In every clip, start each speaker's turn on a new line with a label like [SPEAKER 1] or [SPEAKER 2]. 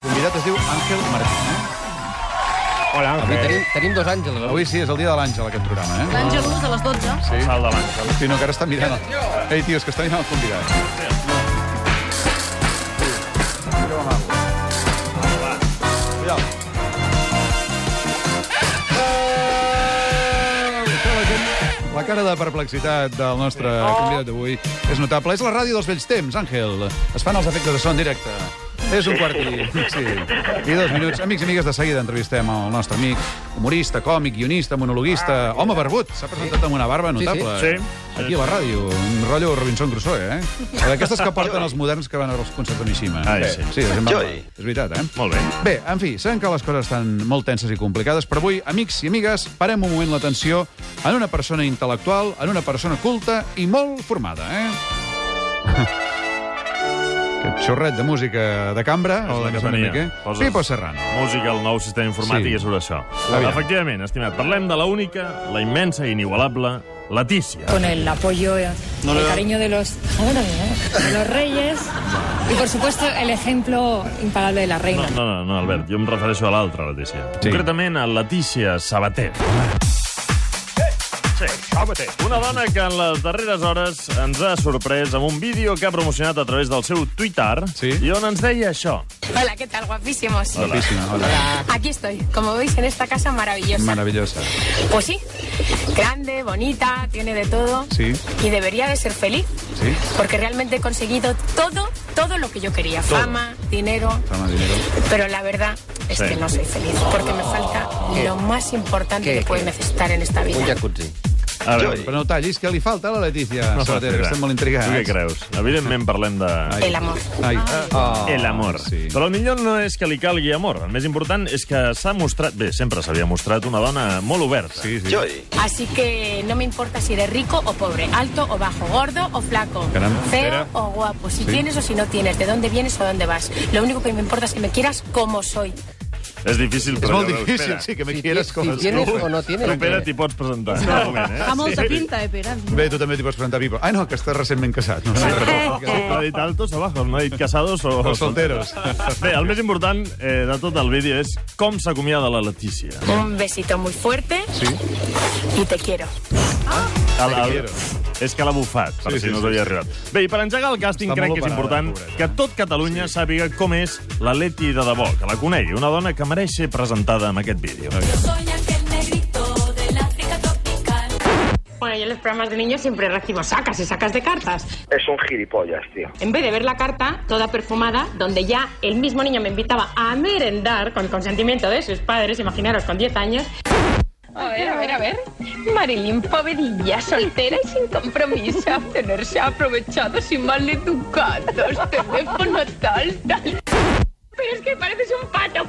[SPEAKER 1] convidat es diu Àngel Martín. Eh?
[SPEAKER 2] Hola,
[SPEAKER 3] Avui
[SPEAKER 2] Àngel.
[SPEAKER 3] tenim, tenim dos àngels.
[SPEAKER 1] Avui sí, és el dia de l'Àngel, aquest programa. Eh?
[SPEAKER 4] L'Àngel Luz a les 12.
[SPEAKER 1] Sí.
[SPEAKER 2] El salt de l'Àngel.
[SPEAKER 1] Hosti, no, que ara està mirant... El... Ei, tio, és que està mirant el convidat. Cuidao. La cara de perplexitat del nostre convidat d'avui és notable. És la ràdio dels vells temps, Àngel. Es fan els efectes de son directe. És un quart i... Sí. I dos minuts. Amics i amigues, de seguida entrevistem el nostre amic, humorista, còmic, guionista, monologuista, home barbut. S'ha presentat amb una barba
[SPEAKER 3] sí.
[SPEAKER 1] notable.
[SPEAKER 2] Sí.
[SPEAKER 1] Aquí a la ràdio, un rotllo Robinson Crusoe, eh? D'aquestes que porten els moderns que van als concerts de Mishima.
[SPEAKER 2] Ai,
[SPEAKER 1] Bé,
[SPEAKER 2] sí.
[SPEAKER 1] sí la gent va-
[SPEAKER 5] Joy.
[SPEAKER 1] és veritat, eh?
[SPEAKER 2] Molt bé.
[SPEAKER 1] Bé, en fi, sabem que les coses estan molt tenses i complicades, però avui, amics i amigues, parem un moment l'atenció en una persona intel·lectual, en una persona culta i molt formada, eh? Aquest xorret de música de cambra,
[SPEAKER 2] És
[SPEAKER 1] o
[SPEAKER 2] la
[SPEAKER 1] de
[SPEAKER 2] que
[SPEAKER 1] Casa
[SPEAKER 2] venia.
[SPEAKER 1] Miquel,
[SPEAKER 2] Doncs Poses-
[SPEAKER 1] Pipo Serrano.
[SPEAKER 2] Música, el nou sistema informàtic,
[SPEAKER 1] Sí.
[SPEAKER 2] sí. és sobre això.
[SPEAKER 1] Aviam.
[SPEAKER 2] Efectivament, estimat, parlem de la única, la immensa i inigualable Letícia.
[SPEAKER 6] con el apoyo, eh, el cariño de los, bueno, también, ¿eh? de los reyes y por supuesto el ejemplo imparable de la reina.
[SPEAKER 2] No, no, no, no, Albert, jo em refereixo a l'altra Letícia.
[SPEAKER 1] Sí.
[SPEAKER 2] Sí. Concretament a Letícia Sabater. Sí, Sabater. Una dona que en les darreres hores ens ha sorprès amb un vídeo que ha promocionat a través del seu Twitter
[SPEAKER 1] Sí.
[SPEAKER 2] i on ens deia això.
[SPEAKER 7] Hola, ¿qué tal? Guapísimos.
[SPEAKER 1] Guapíssima, hola.
[SPEAKER 7] Aquí estoy, como veis, en esta casa maravillosa.
[SPEAKER 1] Maravillosa.
[SPEAKER 7] pues sí, grande, bonita, tiene de todo.
[SPEAKER 1] Sí.
[SPEAKER 7] Y debería de ser feliz.
[SPEAKER 1] Sí.
[SPEAKER 7] Porque realmente he conseguido todo, todo lo que yo quería. Fama, dinero.
[SPEAKER 1] Toma dinero.
[SPEAKER 7] Pero la verdad es
[SPEAKER 2] Sí.
[SPEAKER 7] que no soy feliz. Porque me falta
[SPEAKER 3] ¿Qué?
[SPEAKER 7] lo más importante
[SPEAKER 3] ¿Qué?
[SPEAKER 7] que puedes
[SPEAKER 3] ¿Qué?
[SPEAKER 7] necesitar en esta vida.
[SPEAKER 3] Un jacuzzi.
[SPEAKER 2] A veure,
[SPEAKER 1] Però no tallis, què li falta a la Letícia?
[SPEAKER 2] no
[SPEAKER 1] Sabater, que estem molt
[SPEAKER 2] Tu què
[SPEAKER 1] intrigats.
[SPEAKER 2] creus? Evidentment parlem de...
[SPEAKER 1] Ai.
[SPEAKER 7] El amor.
[SPEAKER 1] Ai.
[SPEAKER 3] Oh.
[SPEAKER 2] El amor.
[SPEAKER 1] Ah, sí.
[SPEAKER 2] Però el millor no és que li calgui amor. El més important és que s'ha mostrat... Bé, sempre s'havia mostrat una dona molt oberta.
[SPEAKER 1] Sí, sí.
[SPEAKER 5] Joy.
[SPEAKER 7] Así que no me importa si eres rico o pobre, alto o bajo, gordo o flaco,
[SPEAKER 1] Caramba.
[SPEAKER 7] feo
[SPEAKER 1] Espera.
[SPEAKER 7] o guapo,
[SPEAKER 1] Sí.
[SPEAKER 7] si tienes o si no tienes, de dónde vienes o dónde vas. Lo único que me importa es que me quieras como soy.
[SPEAKER 2] És difícil,
[SPEAKER 1] És
[SPEAKER 2] però...
[SPEAKER 1] molt
[SPEAKER 2] ja veus,
[SPEAKER 1] difícil,
[SPEAKER 2] Pere.
[SPEAKER 1] sí, que me
[SPEAKER 3] Si
[SPEAKER 1] quieres
[SPEAKER 3] tienes-
[SPEAKER 1] com
[SPEAKER 3] si
[SPEAKER 1] es
[SPEAKER 3] tienes
[SPEAKER 1] diu.
[SPEAKER 3] o no tienes.
[SPEAKER 2] Tu, Pere, t'hi pots presentar. En un moment, eh?
[SPEAKER 4] Fa molta pinta, eh, Pere?
[SPEAKER 1] Bé, tu també t'hi pots presentar, Pipo. Ai, no, que estàs recentment casat. No, sé, però...
[SPEAKER 2] No ha dit altos o bajos, no ha dit casados o...
[SPEAKER 1] O solteros.
[SPEAKER 2] Bé, el més important eh, de tot el vídeo és com s'acomiada la Letícia.
[SPEAKER 7] Un besito muy fuerte
[SPEAKER 1] Sí?
[SPEAKER 7] y te quiero.
[SPEAKER 2] El, el,
[SPEAKER 1] quiero.
[SPEAKER 2] és que l'ha bufat, per
[SPEAKER 1] Sí,
[SPEAKER 2] sí,
[SPEAKER 1] sí,
[SPEAKER 2] si no us
[SPEAKER 1] sí,
[SPEAKER 2] havia
[SPEAKER 1] sí.
[SPEAKER 2] arribat. Bé, i per engegar el càsting
[SPEAKER 1] Està
[SPEAKER 2] crec
[SPEAKER 1] molt
[SPEAKER 2] que és
[SPEAKER 1] operada,
[SPEAKER 2] important
[SPEAKER 1] pobreta.
[SPEAKER 2] que tot Catalunya sí. sàpiga com és la Leti de debò, que la conegui, una dona que mereix ser presentada en aquest vídeo.
[SPEAKER 8] Bueno, yo en los programas de niños siempre recibo sacas y sacas de cartas.
[SPEAKER 9] Es un gilipollas, tío.
[SPEAKER 8] En vez de ver la carta toda perfumada, donde ya el mismo niño me invitaba a merendar con consentimiento de sus padres, imaginaros con 10 años.
[SPEAKER 7] A ver, a ver, a ver. Marilyn Povedilla, soltera y sin compromiso. Tenerse aprovechados y maleducados. Teléfono tal, tal.
[SPEAKER 8] Pero es que pareces un pato.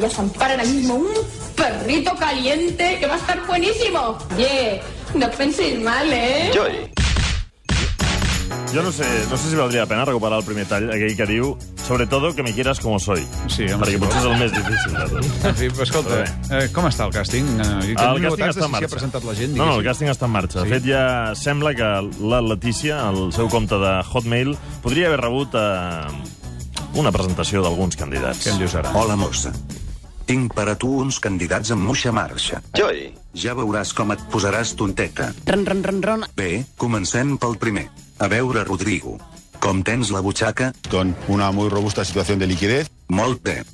[SPEAKER 7] Ya se amparan al mismo un perrito caliente que va a estar buenísimo. Yeah, no penséis mal, ¿eh?
[SPEAKER 5] Joy.
[SPEAKER 2] Jo no sé, no sé si valdria la pena recuperar el primer tall, aquell que diu sobretot que me quieras como soy.
[SPEAKER 1] Sí, home, sí.
[SPEAKER 2] Perquè potser és el més difícil de tot. Ah,
[SPEAKER 1] En fi, escolta, eh, com està el càsting? Eh, i
[SPEAKER 2] El
[SPEAKER 1] tenim
[SPEAKER 2] càsting
[SPEAKER 1] novetats de
[SPEAKER 2] està en
[SPEAKER 1] si s'hi
[SPEAKER 2] marxa.
[SPEAKER 1] ha presentat la gent,
[SPEAKER 2] no, no, el
[SPEAKER 1] diguéssim.
[SPEAKER 2] càsting està en
[SPEAKER 1] Sí.
[SPEAKER 2] marxa. De fet, ja sembla que la Letícia, al seu compte de Hotmail, podria haver rebut eh, una presentació d'alguns candidats.
[SPEAKER 1] Què en dius ara?
[SPEAKER 10] Hola, mossa. Tinc per a tu uns candidats amb moixa marxa.
[SPEAKER 5] Joy.
[SPEAKER 10] Ja veuràs com et posaràs tonteta. Ron, ron, ron, ron. Bé, comencem pel primer. A veure, Rodrigo, com tens la butxaca?
[SPEAKER 11] con una muy robusta situación de liquidez.
[SPEAKER 10] Molt bé.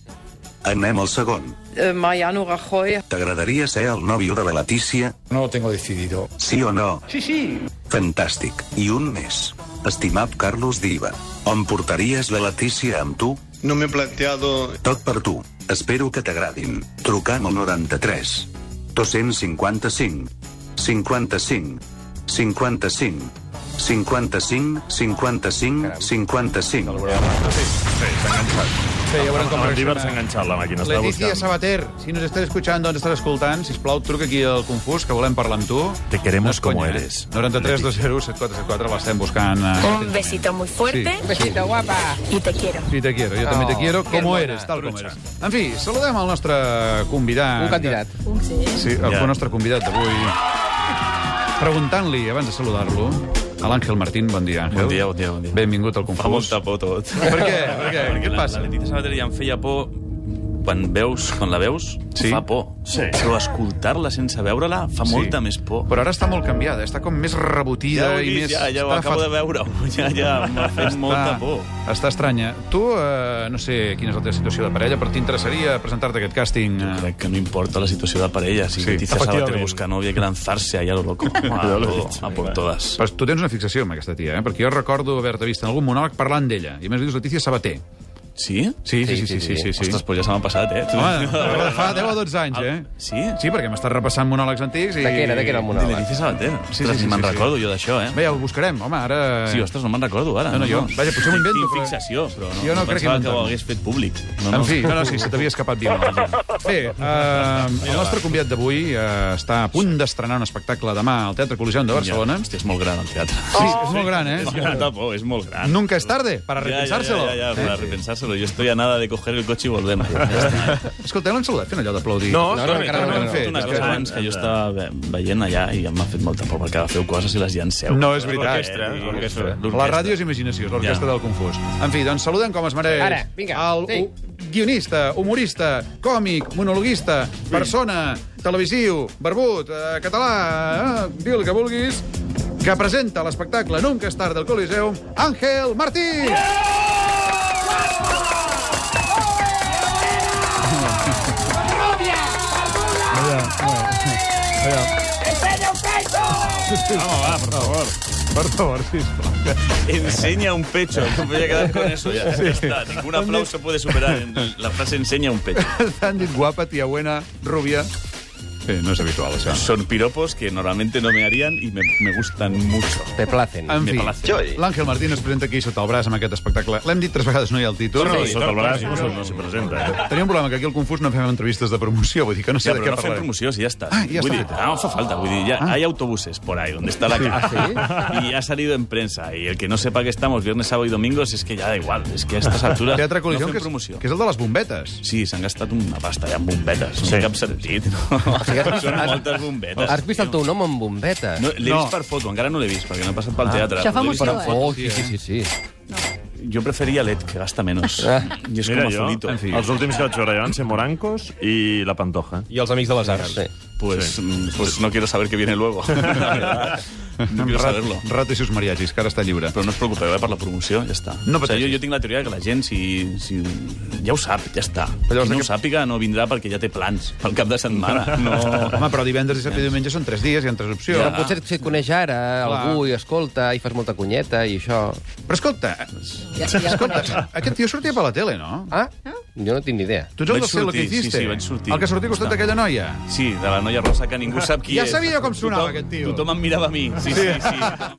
[SPEAKER 10] Anem al segon.
[SPEAKER 8] Eh, Mariano Rajoy.
[SPEAKER 10] T'agradaria ser el nòvio de la Letícia?
[SPEAKER 11] No lo tengo decidido.
[SPEAKER 10] Sí o no? Sí, sí. Fantàstic. I un més. Estimat Carlos Diva, on portaries la Letícia amb tu?
[SPEAKER 11] No me he planteado...
[SPEAKER 10] Tot per tu. Espero que t'agradin. Truca'm al 93. 255. 55. 55. 55, 55, 55.
[SPEAKER 1] Sí, ja veurem com
[SPEAKER 2] El Diver s'ha
[SPEAKER 1] reacciona.
[SPEAKER 2] enganxat Ah, la màquina, està
[SPEAKER 1] Leticia
[SPEAKER 2] buscant.
[SPEAKER 1] Sabater, si nos estás escuchando, on estàs escoltant, sisplau, truca aquí al Confús, que volem parlar amb tu.
[SPEAKER 2] Te queremos
[SPEAKER 1] conya,
[SPEAKER 2] como
[SPEAKER 1] eh?
[SPEAKER 2] eres.
[SPEAKER 1] 93 20 7474, l'estem buscant. eh.
[SPEAKER 7] Un besito muy fuerte
[SPEAKER 3] Un besito, guapa.
[SPEAKER 7] y te quiero.
[SPEAKER 1] Sí, te quiero, yo también te
[SPEAKER 3] Oh,
[SPEAKER 1] quiero,
[SPEAKER 3] qué
[SPEAKER 1] como
[SPEAKER 3] bona.
[SPEAKER 1] eres, tal com eres. En fi, saludem al nostre convidat.
[SPEAKER 3] Un candidat.
[SPEAKER 1] Sí, el
[SPEAKER 2] Ja.
[SPEAKER 1] nostre convidat d'avui. Preguntant-li, abans de saludar-lo, A l'Àngel Martín, bon dia, Àngel.
[SPEAKER 3] Bon dia, bon dia, bon dia.
[SPEAKER 1] Benvingut al
[SPEAKER 3] Fa
[SPEAKER 1] Confús.
[SPEAKER 3] molta por tot.
[SPEAKER 1] Per què? Per què?
[SPEAKER 3] Perquè
[SPEAKER 1] què et
[SPEAKER 3] la,
[SPEAKER 1] passa?
[SPEAKER 3] La Letizia Sabater ja em feia por quan veus, quan la veus,
[SPEAKER 1] Sí.
[SPEAKER 3] fa por.
[SPEAKER 2] Sí.
[SPEAKER 3] Però escoltar-la sense veure-la fa
[SPEAKER 1] Sí.
[SPEAKER 3] molta més por.
[SPEAKER 1] Però ara està molt canviada, està com més rebotida
[SPEAKER 3] ja ho, he
[SPEAKER 1] i
[SPEAKER 3] vist,
[SPEAKER 1] més...
[SPEAKER 3] ja, ja ho
[SPEAKER 1] està
[SPEAKER 3] acabo
[SPEAKER 1] fat-
[SPEAKER 3] de veure. Ja, ja m'ha fet molta por.
[SPEAKER 1] Està estranya. Tu, eh, no sé quina és la teva situació de parella, però t'interessaria presentar-te a aquest càsting. eh?
[SPEAKER 3] Crec que no importa la situació de parella. Si
[SPEAKER 1] Sí,
[SPEAKER 3] sí, Letizia Sabater
[SPEAKER 2] efectivament.
[SPEAKER 3] busca novia, hay que lanzarse ahí a lo loco. A,
[SPEAKER 2] Ja l'he
[SPEAKER 3] todo,
[SPEAKER 2] dit.
[SPEAKER 3] a por todas.
[SPEAKER 1] Però tu tens una fixació amb aquesta tia, eh? perquè jo recordo haver-te vist en algun monòleg parlant d'ella. I a més dius Letícia Sabater.
[SPEAKER 3] Sí?
[SPEAKER 1] Sí, sí, sí, sí, sí, sí, sí.
[SPEAKER 3] Ostres, pues ja se m'ha passat, eh? Ah,
[SPEAKER 1] Home, fa 10 o 12 anys, eh?
[SPEAKER 3] Sí?
[SPEAKER 1] Sí, perquè m'estàs repassant monòlegs antics i...
[SPEAKER 5] De què era, de què era el
[SPEAKER 3] De
[SPEAKER 5] monòleg?
[SPEAKER 3] Letizia Sabater.
[SPEAKER 1] Sí,
[SPEAKER 3] Sí,
[SPEAKER 1] sí,
[SPEAKER 3] sí,
[SPEAKER 1] sí,
[SPEAKER 3] me'n
[SPEAKER 1] sí, sí.
[SPEAKER 3] recordo jo d'això, eh?
[SPEAKER 1] Bé, ja ho buscarem, home, ara...
[SPEAKER 3] Sí, ostres, no me'n recordo ara.
[SPEAKER 1] No, no, jo- vaja, potser m'ho invento,
[SPEAKER 3] Quin
[SPEAKER 1] però-
[SPEAKER 3] fixació, però no.
[SPEAKER 1] Jo no crec
[SPEAKER 3] Em
[SPEAKER 1] que
[SPEAKER 3] pensava que
[SPEAKER 1] m'entén.
[SPEAKER 3] ho hagués fet públic. No,
[SPEAKER 1] En
[SPEAKER 3] no.
[SPEAKER 1] fi, no, no, sí, se t'havia escapat dir Bé, eh, el nostre convidat d'avui eh, està a punt d'estrenar un espectacle demà al Teatre Coliseum de Barcelona.
[SPEAKER 3] Hòstia, és molt gran, el teatre.
[SPEAKER 1] Sí, és molt gran, eh?
[SPEAKER 3] És molta por, és molt gran.
[SPEAKER 1] Nunca es tarde para
[SPEAKER 3] Ya, ya,
[SPEAKER 1] repensárselo.
[SPEAKER 3] Ya, ya, ya, para repensárselo. Yo estoy a nada de coger el coche y volverme.
[SPEAKER 1] Escolta, l'han saludat fent allò d'aplaudir.
[SPEAKER 5] No,
[SPEAKER 1] no,
[SPEAKER 5] no,
[SPEAKER 1] encara no,
[SPEAKER 5] no,
[SPEAKER 1] ho han
[SPEAKER 5] no,
[SPEAKER 1] fet.
[SPEAKER 3] Una
[SPEAKER 1] És
[SPEAKER 3] cosa
[SPEAKER 1] que-
[SPEAKER 3] abans que jo estava ve- veient allà i em va fet molta por perquè agafeu coses i les llanceu.
[SPEAKER 1] No, és veritat.
[SPEAKER 3] L'orquestra,
[SPEAKER 1] Eh,
[SPEAKER 3] l'orquestra,
[SPEAKER 1] La
[SPEAKER 3] l'orquestra.
[SPEAKER 1] ràdio és imaginació, és l'orquestra
[SPEAKER 3] Ja.
[SPEAKER 1] del confús. En fi, doncs saluden com es mereix.
[SPEAKER 5] Ara, vinga,
[SPEAKER 1] El
[SPEAKER 5] sí.
[SPEAKER 1] hu- guionista, humorista, còmic, monologuista, persona, televisiu, barbut, eh, català, eh, diu el que vulguis, que presenta l'espectacle Nunca és tard del Coliseum, Àngel Martí!
[SPEAKER 3] Enseña un pecho. Me voy a quedar con eso ya. Ya está. Ningún aplauso puede superar en- la frase enseña un pecho.
[SPEAKER 1] T'han dit guapa, tia buena, rubia... Eh, no és habitual, això.
[SPEAKER 3] Son piropos que normalmente no me harían y me, me gustan mucho.
[SPEAKER 5] Te placen.
[SPEAKER 1] En
[SPEAKER 3] Me
[SPEAKER 1] fi,
[SPEAKER 3] place.
[SPEAKER 1] l'Àngel Martín es presenta aquí sota el braç amb aquest espectacle. L'hem dit tres vegades, no hi ha el títol.
[SPEAKER 2] No, sota el braç no, no s'hi presenta. Eh?
[SPEAKER 1] Tenia un problema, que aquí al Confús no fem entrevistes de promoció, vull dir que no sé
[SPEAKER 3] Ja,
[SPEAKER 1] de
[SPEAKER 3] però
[SPEAKER 1] què
[SPEAKER 3] no fem
[SPEAKER 1] parlarem.
[SPEAKER 3] promoció, si ja està.
[SPEAKER 1] Ah, ja
[SPEAKER 3] vull
[SPEAKER 1] està.
[SPEAKER 3] dir, no fa falta, vull dir, ya, hay autobuses por ahí donde está la cara. Y ha salido en prensa. Y el que no sepa que estamos viernes, sábado y domingos es que ya da igual. Es que a estas alturas
[SPEAKER 1] Teatre
[SPEAKER 3] no
[SPEAKER 1] Coliseum,
[SPEAKER 3] fem
[SPEAKER 1] que, és,
[SPEAKER 3] promoció.
[SPEAKER 1] que és el de les bombetes.
[SPEAKER 3] Sí, s'han gastat una pasta ja amb bombetes. Sí. No cap sentit. No? Són moltes bombetes.
[SPEAKER 5] Has vist el teu nom amb bombeta?
[SPEAKER 3] No, l'he
[SPEAKER 1] No.
[SPEAKER 3] vist per foto, encara no l'he vist, perquè no he passat pel teatre.
[SPEAKER 4] Això fa
[SPEAKER 3] L'he
[SPEAKER 4] molt
[SPEAKER 3] vist
[SPEAKER 4] Però-
[SPEAKER 3] per foto.
[SPEAKER 5] Oh,
[SPEAKER 3] eh?
[SPEAKER 5] sí, sí, sí, sí.
[SPEAKER 3] Jo preferia LED, que gasta menos. I és
[SPEAKER 2] Mira,
[SPEAKER 3] com
[SPEAKER 2] jo,
[SPEAKER 3] azulito.
[SPEAKER 1] en fi.
[SPEAKER 2] els últims que vaig veure jo van ser Morancos i La Pantoja.
[SPEAKER 5] I els Amics de les Arts. Sí.
[SPEAKER 3] Pues, mm, pues no quiero saber qué viene luego. La verdad. no quiero saberlo.
[SPEAKER 1] Rato i sus mariachis, que ara està lliure.
[SPEAKER 3] Però no us preocupeu eh, per la promoció, ja està.
[SPEAKER 1] No
[SPEAKER 3] o sigui,
[SPEAKER 1] pateixis.
[SPEAKER 3] jo, jo tinc la teoria que la gent, si, si ja ho sap, ja està.
[SPEAKER 1] Però llavors
[SPEAKER 3] Llavors,
[SPEAKER 1] de
[SPEAKER 3] si no
[SPEAKER 1] què-
[SPEAKER 3] ho sàpiga, no vindrà perquè ja té plans pel cap de setmana. No...
[SPEAKER 1] Home, però divendres, dissabte i diumenge són tres dies, hi ha tres opcions.
[SPEAKER 5] Però
[SPEAKER 1] Ja.
[SPEAKER 5] potser si et coneix ara algú i escolta i fas molta cunyeta i això...
[SPEAKER 1] Però escolta,
[SPEAKER 4] Ja, ja.
[SPEAKER 1] escolta, aquest tio sortia per la tele, no?
[SPEAKER 5] Ah? Jo no tinc ni idea.
[SPEAKER 1] Tu ets el
[SPEAKER 3] Vaig
[SPEAKER 1] del cielo que
[SPEAKER 3] sortir, sí,
[SPEAKER 1] hiciste.
[SPEAKER 3] sí, vaig sortir.
[SPEAKER 1] El que sortia al costat d'aquella noia.
[SPEAKER 3] Sí, de la noia rosa que ningú sap qui
[SPEAKER 1] Ja
[SPEAKER 3] és.
[SPEAKER 1] sabia com sonava
[SPEAKER 3] tothom,
[SPEAKER 1] aquest tio.
[SPEAKER 3] Tothom em mirava a mi. Sí, sí, sí.